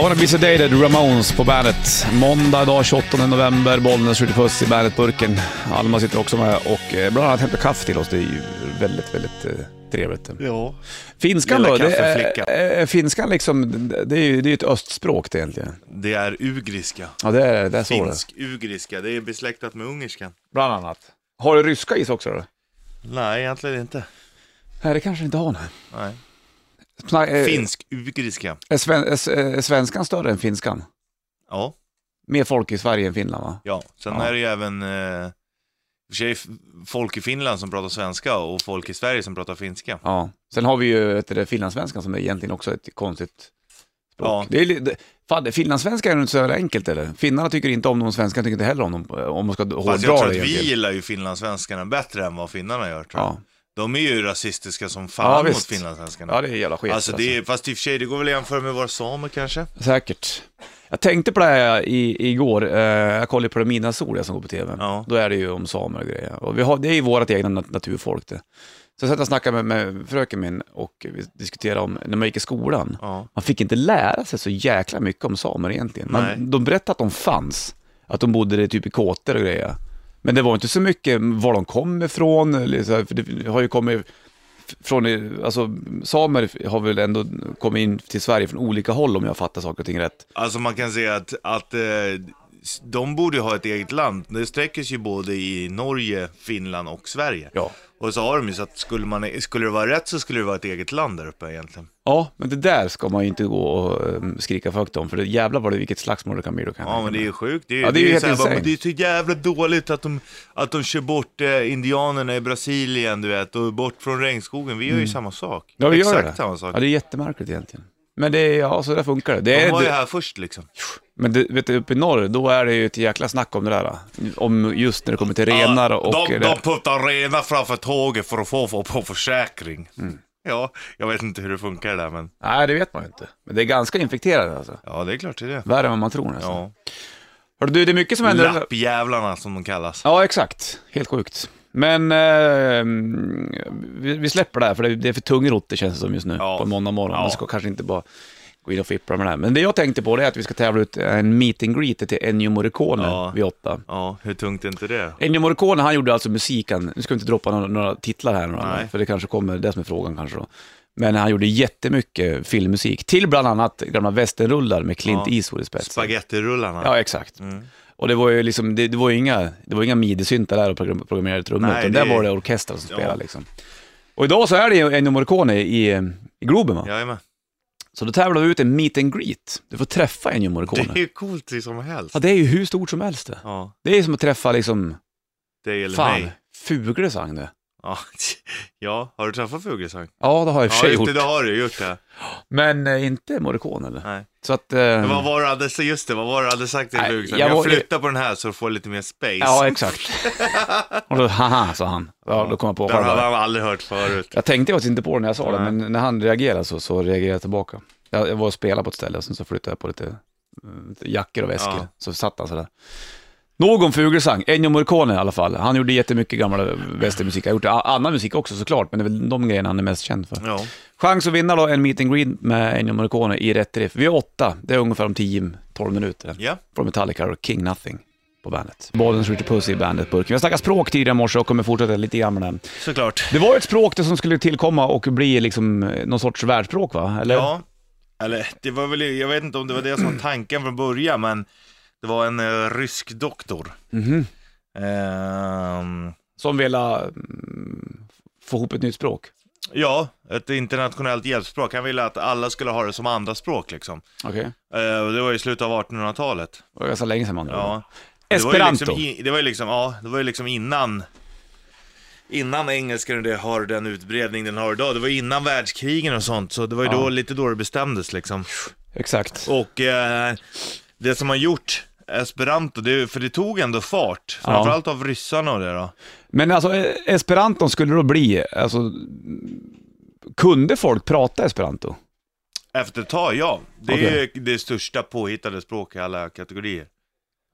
Speaker 1: I wanna be sedated, Ramones på bandet. Måndag idag 28 november, Bollnäs skjuter puss i bandetburken. Alma sitter också med och eh, bland annat hämtar kaffe till oss. Det är ju väldigt, väldigt eh, trevligt.
Speaker 2: Ja.
Speaker 1: Finskan
Speaker 2: Lilla
Speaker 1: då, det är,
Speaker 2: kaffeflickan.
Speaker 1: är- är finskan liksom, det är ju det är ju ett östspråk det egentligen.
Speaker 2: Det är ugriska.
Speaker 1: Ja, det är, det är så det.
Speaker 2: Finsk-ugriska. Det är besläktat med ungerskan.
Speaker 1: Bland annat. Har du ryska is också då?
Speaker 2: Nej, egentligen inte.
Speaker 1: Nej, det kanske inte har nej.
Speaker 2: Nej.
Speaker 1: Sna- eh,
Speaker 2: Finsk-ugriska.
Speaker 1: Är, sven- är, s- är svenskan större än finskan?
Speaker 2: Ja,
Speaker 1: Mer folk i Sverige än Finland va?
Speaker 2: ja. Sen
Speaker 1: Ja.
Speaker 2: är det ju även... Eh, i och för sig f- folk i Finland som pratar svenska och folk i Sverige som pratar finska.
Speaker 1: Ja. Sen har vi ju vet du, det, finlandssvenskan som är egentligen också ett konstigt språk.
Speaker 2: Ja.
Speaker 1: Det är, li- det, fan, det- finlandssvenska är ju inte så jävla enkelt eller? Finnarna tycker inte om dem, svenskarna tycker inte heller om dem, om man ska hårdra
Speaker 2: Fast jag tror att
Speaker 1: det
Speaker 2: vi
Speaker 1: egentligen.
Speaker 2: gillar ju finlandssvenskarna bättre än vad finnarna gör tror jag.
Speaker 1: Ja.
Speaker 2: De är ju rasistiska som
Speaker 1: Ja,
Speaker 2: fan mot
Speaker 1: visst.
Speaker 2: finlandssvenskarna.
Speaker 1: ja, det är jävla skit.
Speaker 2: alltså, det är, fast i och för sig, det går väl att jämföra med våra samer kanske?
Speaker 1: Säkert. Jag tänkte på det här i, igår, eh, jag kollade på det Mina Solia som går på tv.
Speaker 2: Ja.
Speaker 1: Då är det ju om samer och grejer. Och vi har, det är ju vårt egna nat- naturfolk det. Så jag satt och snackade med, med fröken min och vi diskuterade om när man gick i skolan.
Speaker 2: Ja.
Speaker 1: Man fick inte lära sig så jäkla mycket om samer egentligen.
Speaker 2: Nej.
Speaker 1: Man, de berättade att de fanns, att de bodde i typ i kåtor och grejer. Men det var inte så mycket var de kom ifrån, eller så här, för det har ju kommit f- från, i- alltså samer har väl ändå kommit in till Sverige från olika håll om jag fattar saker och ting rätt.
Speaker 2: Alltså man kan säga att, att eh, s- de borde ju ha ett eget land. Det sträcker sig ju både i Norge, Finland och Sverige.
Speaker 1: Ja.
Speaker 2: Och så har de ju så att skulle, man, skulle det vara rätt så skulle det vara ett eget land där uppe egentligen.
Speaker 1: Ja, men det där ska man ju inte gå och ehm, skrika för högt om, för det jävlar vad det vilket slagsmål det kan bli då kan jag
Speaker 2: Ja
Speaker 1: tänka
Speaker 2: men det är
Speaker 1: mig.
Speaker 2: ju sjukt. Det är,
Speaker 1: Ja, det är ju
Speaker 2: ju
Speaker 1: helt
Speaker 2: så här, bara,
Speaker 1: insane.
Speaker 2: men det är så jävla dåligt att de, att de kör bort eh, indianerna i Brasilien du vet och bort från regnskogen. Vi gör ju samma sak.
Speaker 1: Mm. Ja, vi gör
Speaker 2: Exakt
Speaker 1: det.
Speaker 2: samma sak.
Speaker 1: Ja, det är jättemärkligt egentligen. Men det är, ja, så där funkar det. det
Speaker 2: De
Speaker 1: är,
Speaker 2: var ju
Speaker 1: det-
Speaker 2: här först liksom.
Speaker 1: Men du, vet du, uppe i norr, då är det ju ett jäkla snack om det där. Om just när det kommer till renar och...
Speaker 2: de,
Speaker 1: det.
Speaker 2: de puttar renar framför tåget för att få få på försäkring.
Speaker 1: Mm.
Speaker 2: Ja, jag vet inte hur det funkar där men
Speaker 1: Nej, det vet man ju inte. Men det är ganska infekterat alltså.
Speaker 2: ja det är klart det är det.
Speaker 1: Värre än vad man tror nästan.
Speaker 2: Ja.
Speaker 1: Hörru du, Mm. det är mycket som händer.
Speaker 2: Lappjävlarna som de kallas.
Speaker 1: Ja, exakt. Helt sjukt. Men eh, vi, vi släpper det här, för det, det är för tungrott det känns som just nu
Speaker 2: Ja.
Speaker 1: på en måndag morgon.
Speaker 2: Ja.
Speaker 1: Man ska kanske inte bara gå in och fippla med det här. Men det jag tänkte på det är att vi ska tävla ut en meet and greet till Ennio Morricone
Speaker 2: Ja.
Speaker 1: vid åtta.
Speaker 2: Ja, hur tungt är inte det?
Speaker 1: Ennio Morricone, han gjorde alltså musiken, nu ska vi inte droppa några, några titlar här, några,
Speaker 2: Nej.
Speaker 1: för det kanske kommer, det som är frågan kanske då. Men han gjorde jättemycket filmmusik, till bland annat gamla västernrullar med Clint
Speaker 2: Ja.
Speaker 1: Eastwood i spetsen.
Speaker 2: Spagettirullarna. Mm.
Speaker 1: Ja, exakt. Och det var ju liksom, det, det var ju inga, det var inga midisyntar där och program- programmerade trummor,
Speaker 2: Nej,
Speaker 1: utan
Speaker 2: det
Speaker 1: där
Speaker 2: är-
Speaker 1: var det orkestrar som
Speaker 2: Ja.
Speaker 1: spelade liksom. Och idag så är det ju Ennio Morricone i, i Globen va?
Speaker 2: Jajamän.
Speaker 1: Så då tävlar vi ut en meet and greet. Du får träffa Ennio
Speaker 2: Det
Speaker 1: Morricone.
Speaker 2: är ju coolt i som helst.
Speaker 1: Ja, det är ju hur stort som helst det.
Speaker 2: Ja,
Speaker 1: Det är som att träffa liksom,
Speaker 2: dig eller
Speaker 1: fan,
Speaker 2: mig.
Speaker 1: Fuglesang det.
Speaker 2: Ja, <laughs> ja har du träffat Fuglesang?
Speaker 1: Ja, det har jag i och för
Speaker 2: Ja,
Speaker 1: sig
Speaker 2: just
Speaker 1: gjort.
Speaker 2: det, det har du gjort det.
Speaker 1: Men eh, inte Morricone eller?
Speaker 2: Nej.
Speaker 1: Så att... Eh,
Speaker 2: Men vad var det hade, just det, vad var det du hade sagt till
Speaker 1: Nej,
Speaker 2: Fuglesang?
Speaker 1: jag
Speaker 2: Jag,
Speaker 1: var-
Speaker 2: flyttar på den här så du får lite mer space.
Speaker 1: Ja,
Speaker 2: <laughs>
Speaker 1: exakt. Och då, haha, sa han. Ja, då kom jag på
Speaker 2: det har
Speaker 1: själv.
Speaker 2: han aldrig hört förut.
Speaker 1: Jag tänkte faktiskt inte på det när jag sa det,
Speaker 2: Nej.
Speaker 1: men när han reagerade så, så reagerade jag tillbaka. Jag, jag var och spelade på ett ställe och sen så flyttade jag på lite eh, jackor och väskor,
Speaker 2: Ja.
Speaker 1: så satt han sådär. Någon Fuglesang, Ennio Morricone i alla fall. Han gjorde jättemycket gammal eh, västermusik. Han har gjort a- annan musik också såklart, men det är väl de grejerna han är mest känd för.
Speaker 2: Ja.
Speaker 1: Chans att vinna då en meet and greet med Ennio Morricone i rätt riff. Vi är åtta, det är ungefär om 10-12 minuter.
Speaker 2: ja.
Speaker 1: Från Metallica och King Nothing på bandet. Bollen skjuter puss i bandet-burken. Vi har snackat språk tidigare i morse och kommer fortsätta lite grann med den.
Speaker 2: Såklart.
Speaker 1: Det var ju ett språk det som skulle tillkomma och bli liksom eh, någon sorts världsspråk va? Eller?
Speaker 2: Ja. Eller, det var väl, jag vet inte om det var det som var tanken från början, men det var en eh, rysk doktor.
Speaker 1: Mhm.
Speaker 2: Ehm,
Speaker 1: Som ville mm, få ihop ett nytt språk.
Speaker 2: ja, ett internationellt hjälpspråk. Han ville att alla skulle ha det som andra språk liksom.
Speaker 1: Okej.
Speaker 2: Eh, och det var i slutet av 1800-talet.
Speaker 1: Det var ganska länge sedan man
Speaker 2: Ja.
Speaker 1: Mm. Esperanto.
Speaker 2: Det var ju liksom, i- det var ju liksom, ja, det var ju liksom innan, innan engelskan det har den utbredning den har idag. Det var ju innan världskrigen och sånt, så det var ju
Speaker 1: Ja.
Speaker 2: då, lite då det bestämdes liksom.
Speaker 1: Exakt.
Speaker 2: Och eh, det som har gjort esperanto, det, är ju- för det tog ändå fart,
Speaker 1: Ja.
Speaker 2: framförallt av ryssarna och det då.
Speaker 1: Men alltså eh, esperanton skulle då bli, alltså, mm, kunde folk prata esperanto?
Speaker 2: Efter ett tag, ja. Det är
Speaker 1: Okej.
Speaker 2: ju det största påhittade språk i alla kategorier.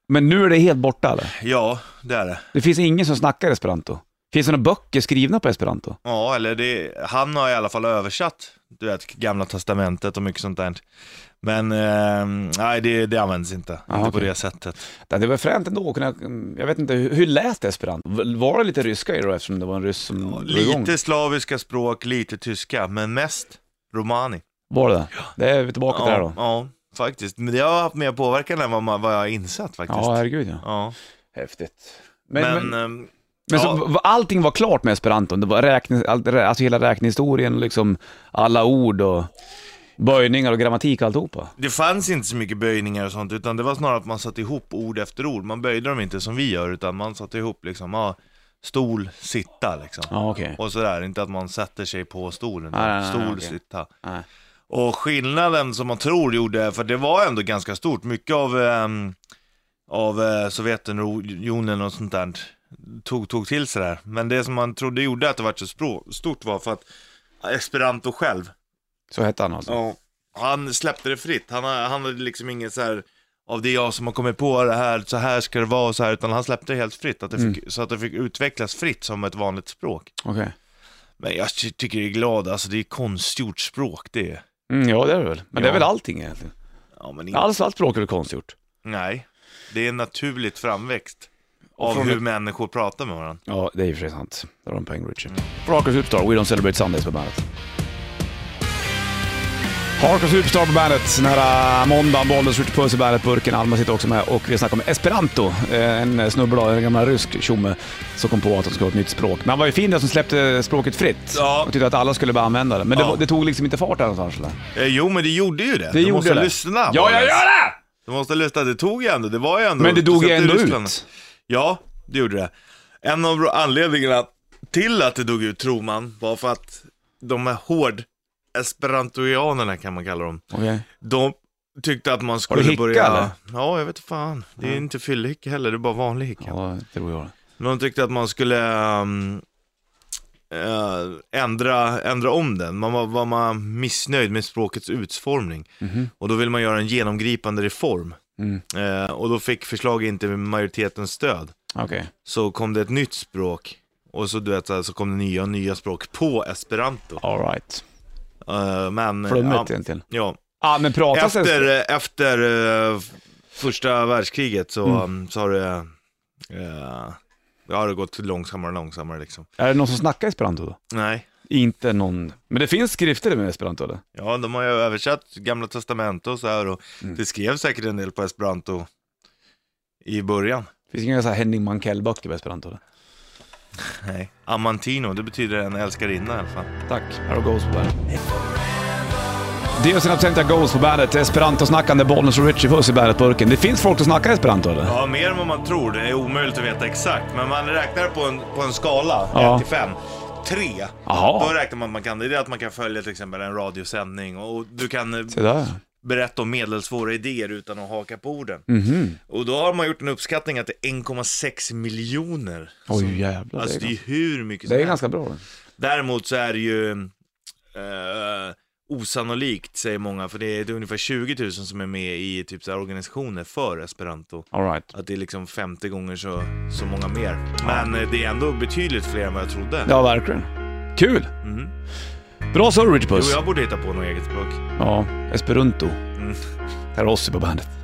Speaker 1: Men nu är det helt borta eller?
Speaker 2: Ja, det är det.
Speaker 1: Det finns ingen som snackar esperanto. Finns det några böcker skrivna på esperanto?
Speaker 2: Ja, eller det, han har i alla fall översatt, du vet, gamla testamentet och mycket sånt där. Men eh, nej, det, det används inte.
Speaker 1: Ah,
Speaker 2: inte på
Speaker 1: okej.
Speaker 2: det sättet.
Speaker 1: Nej, Det var fränt ändå att kunna, jag vet inte, hur hur lät esperanto? Var det lite ryska i det då eftersom det var en ryss som drog igång?
Speaker 2: Lite slaviska språk, lite tyska, men mest romani.
Speaker 1: Var det det? Det är vi tillbaka till det här
Speaker 2: Ja,
Speaker 1: då.
Speaker 2: ja, faktiskt. Men det har haft mer påverkan än vad, man, vad jag har insett faktiskt.
Speaker 1: Ja, herregud ja.
Speaker 2: Ja.
Speaker 1: Häftigt. Men, men,
Speaker 2: Men,
Speaker 1: men,
Speaker 2: ehm,
Speaker 1: så,
Speaker 2: ja.
Speaker 1: v- allting var klart med esperanton? Det var räkning, all, rä- alltså hela räknehistorien och liksom alla ord och böjningar och grammatik och alltihopa?
Speaker 2: det fanns inte så mycket böjningar och sånt, utan det var snarare att man satte ihop ord efter ord. Man böjde dem inte som vi gör, utan man satte ihop liksom, ja, stol, sitta liksom.
Speaker 1: Ja, okej.
Speaker 2: Och sådär, inte att man sätter sig på stolen.
Speaker 1: Nej, nej, nej,
Speaker 2: Stol,
Speaker 1: okej.
Speaker 2: sitta.
Speaker 1: Nej.
Speaker 2: Och skillnaden som man tror gjorde, för det var ändå ganska stort, mycket av, ehm, av eh, Sovjetunionen och sånt där tog, tog till sig där. Men det som man trodde gjorde att det var så språ- stort var för att eh, Esperanto själv,
Speaker 1: Så hette han alltså?
Speaker 2: ja. han släppte det fritt. Han, ha- han hade liksom inget så här av det är jag som har kommit på det här, så här ska det vara och så här, utan han släppte det helt fritt, att det
Speaker 1: Mm.
Speaker 2: fick, så att det fick utvecklas fritt som ett vanligt språk.
Speaker 1: Okej.
Speaker 2: Men jag ty- tycker det är glad, alltså det är konstgjort språk det är.
Speaker 1: Mm, ja, det är det väl. Men det är
Speaker 2: Ja.
Speaker 1: väl allting egentligen?
Speaker 2: Ja, men inte,
Speaker 1: Allt, allt språk är väl konstgjort?
Speaker 2: Nej, det är en naturligt framväxt av
Speaker 1: Från-
Speaker 2: hur människor pratar med varandra.
Speaker 1: Ja, det är i och för sig sant. Där har de poäng, Richard. Harker Superstar, We Don't Celebrate Sundays på bandet. Harker Superstar på bandet. Nära måndagen, Bollnäs skjuter puss i bandet-burken. Alma sitter också med och vi snackar om esperanto. Eh, En snubbe då, en gammal rysk tjomme, som kom på att de skulle ha ett nytt språk. Men han var ju fin den som släppte språket fritt.
Speaker 2: Ja.
Speaker 1: Och tyckte att alla skulle börja använda det. Men det,
Speaker 2: Ja.
Speaker 1: var- det tog liksom inte fart där någonstans eller?
Speaker 2: Eh, jo, men det gjorde ju det.
Speaker 1: Det
Speaker 2: du
Speaker 1: gjorde
Speaker 2: måste
Speaker 1: det.
Speaker 2: lyssna.
Speaker 1: Ja, jag gör det!
Speaker 2: Du måste lyssna, det tog ju ändå, det var ju ändå.
Speaker 1: Men det dog ju
Speaker 2: speciellt i
Speaker 1: ändå
Speaker 2: Ryssland.
Speaker 1: ut.
Speaker 2: Ja, det gjorde det. En av anledningarna till att det dog ut, tror man, var för att de här hård esperantoianerna kan man kalla dem.
Speaker 1: Okej.
Speaker 2: De tyckte att man skulle
Speaker 1: du hicka,
Speaker 2: börja...
Speaker 1: eller?
Speaker 2: Ja, jag vet fan. Det är inte fyllehicka heller, det är bara vanlig hicka.
Speaker 1: Ja, det tror jag det.
Speaker 2: Men de tyckte att man skulle ehm, eh, ändra, ändra om den. Man var, var man missnöjd med språkets utformning.
Speaker 1: Mhm.
Speaker 2: Och då ville man göra en genomgripande reform.
Speaker 1: Mm.
Speaker 2: Eh, och då fick förslaget inte majoritetens stöd.
Speaker 1: Okej.
Speaker 2: Så kom det ett nytt språk. Och så, du vet, så här, så kom det nya och nya språk på esperanto.
Speaker 1: All right.
Speaker 2: Eh, men, eh,
Speaker 1: Flummigt
Speaker 2: ja,
Speaker 1: egentligen.
Speaker 2: ja.
Speaker 1: Ja, Ah, men pratas det-
Speaker 2: Efter, eh, efter eh, första världskriget så, mm. så har det, eh, det har gått långsammare och långsammare liksom.
Speaker 1: Är det någon som snackar esperanto då?
Speaker 2: Nej.
Speaker 1: Inte någon... Men det finns skrifter med esperanto eller?
Speaker 2: Ja, de har ju översatt Gamla Testamentet och så här och
Speaker 1: Mm.
Speaker 2: det skrevs säkert en del på esperanto i början.
Speaker 1: Finns det inga så här Henning Mankell-böcker på esperanto eller?
Speaker 2: Nej. Amantino, det betyder en älskarinna i alla fall.
Speaker 1: Tack, här har Ghost på bandet. Dio sin absenta Goals på bandet. Esperanto-snackande Bollnäs och Richie Puss i bandetburken. Det finns folk som snackar esperanto eller?
Speaker 2: Ja, mer än vad man tror. Det är omöjligt att veta exakt. Men man räknar på en, på en skala,
Speaker 1: Ja.
Speaker 2: 1 till 5. 3.
Speaker 1: Jaha.
Speaker 2: Då räknar man att man kan. Det är att man kan följa till exempel en radiosändning och du kan eh,
Speaker 1: Se där.
Speaker 2: berätta om medelsvåra idéer utan att haka på orden.
Speaker 1: Mhm.
Speaker 2: Och då har man gjort en uppskattning att det är 1,6 miljoner. som-
Speaker 1: Oj jävlar.
Speaker 2: Alltså det
Speaker 1: det,
Speaker 2: är
Speaker 1: är
Speaker 2: ju hur mycket
Speaker 1: det är
Speaker 2: som helst.
Speaker 1: ganska bra. det.
Speaker 2: Däremot så är det ju eh, osannolikt säger många, för det är, det är ungefär 20 000 som är med i typ så här organisationer för esperanto.
Speaker 1: All right.
Speaker 2: Att det är liksom 50 gånger så, så många mer. Men eh, det är ändå betydligt fler än vad jag trodde.
Speaker 1: Ja, verkligen. Kul!
Speaker 2: Mm.
Speaker 1: Bra sa du Richie
Speaker 2: Jo,
Speaker 1: Puss.
Speaker 2: jag borde hitta på något eget språk.
Speaker 1: Ja, Esperanto.
Speaker 2: Mm.
Speaker 1: Här är Ossi på bandet.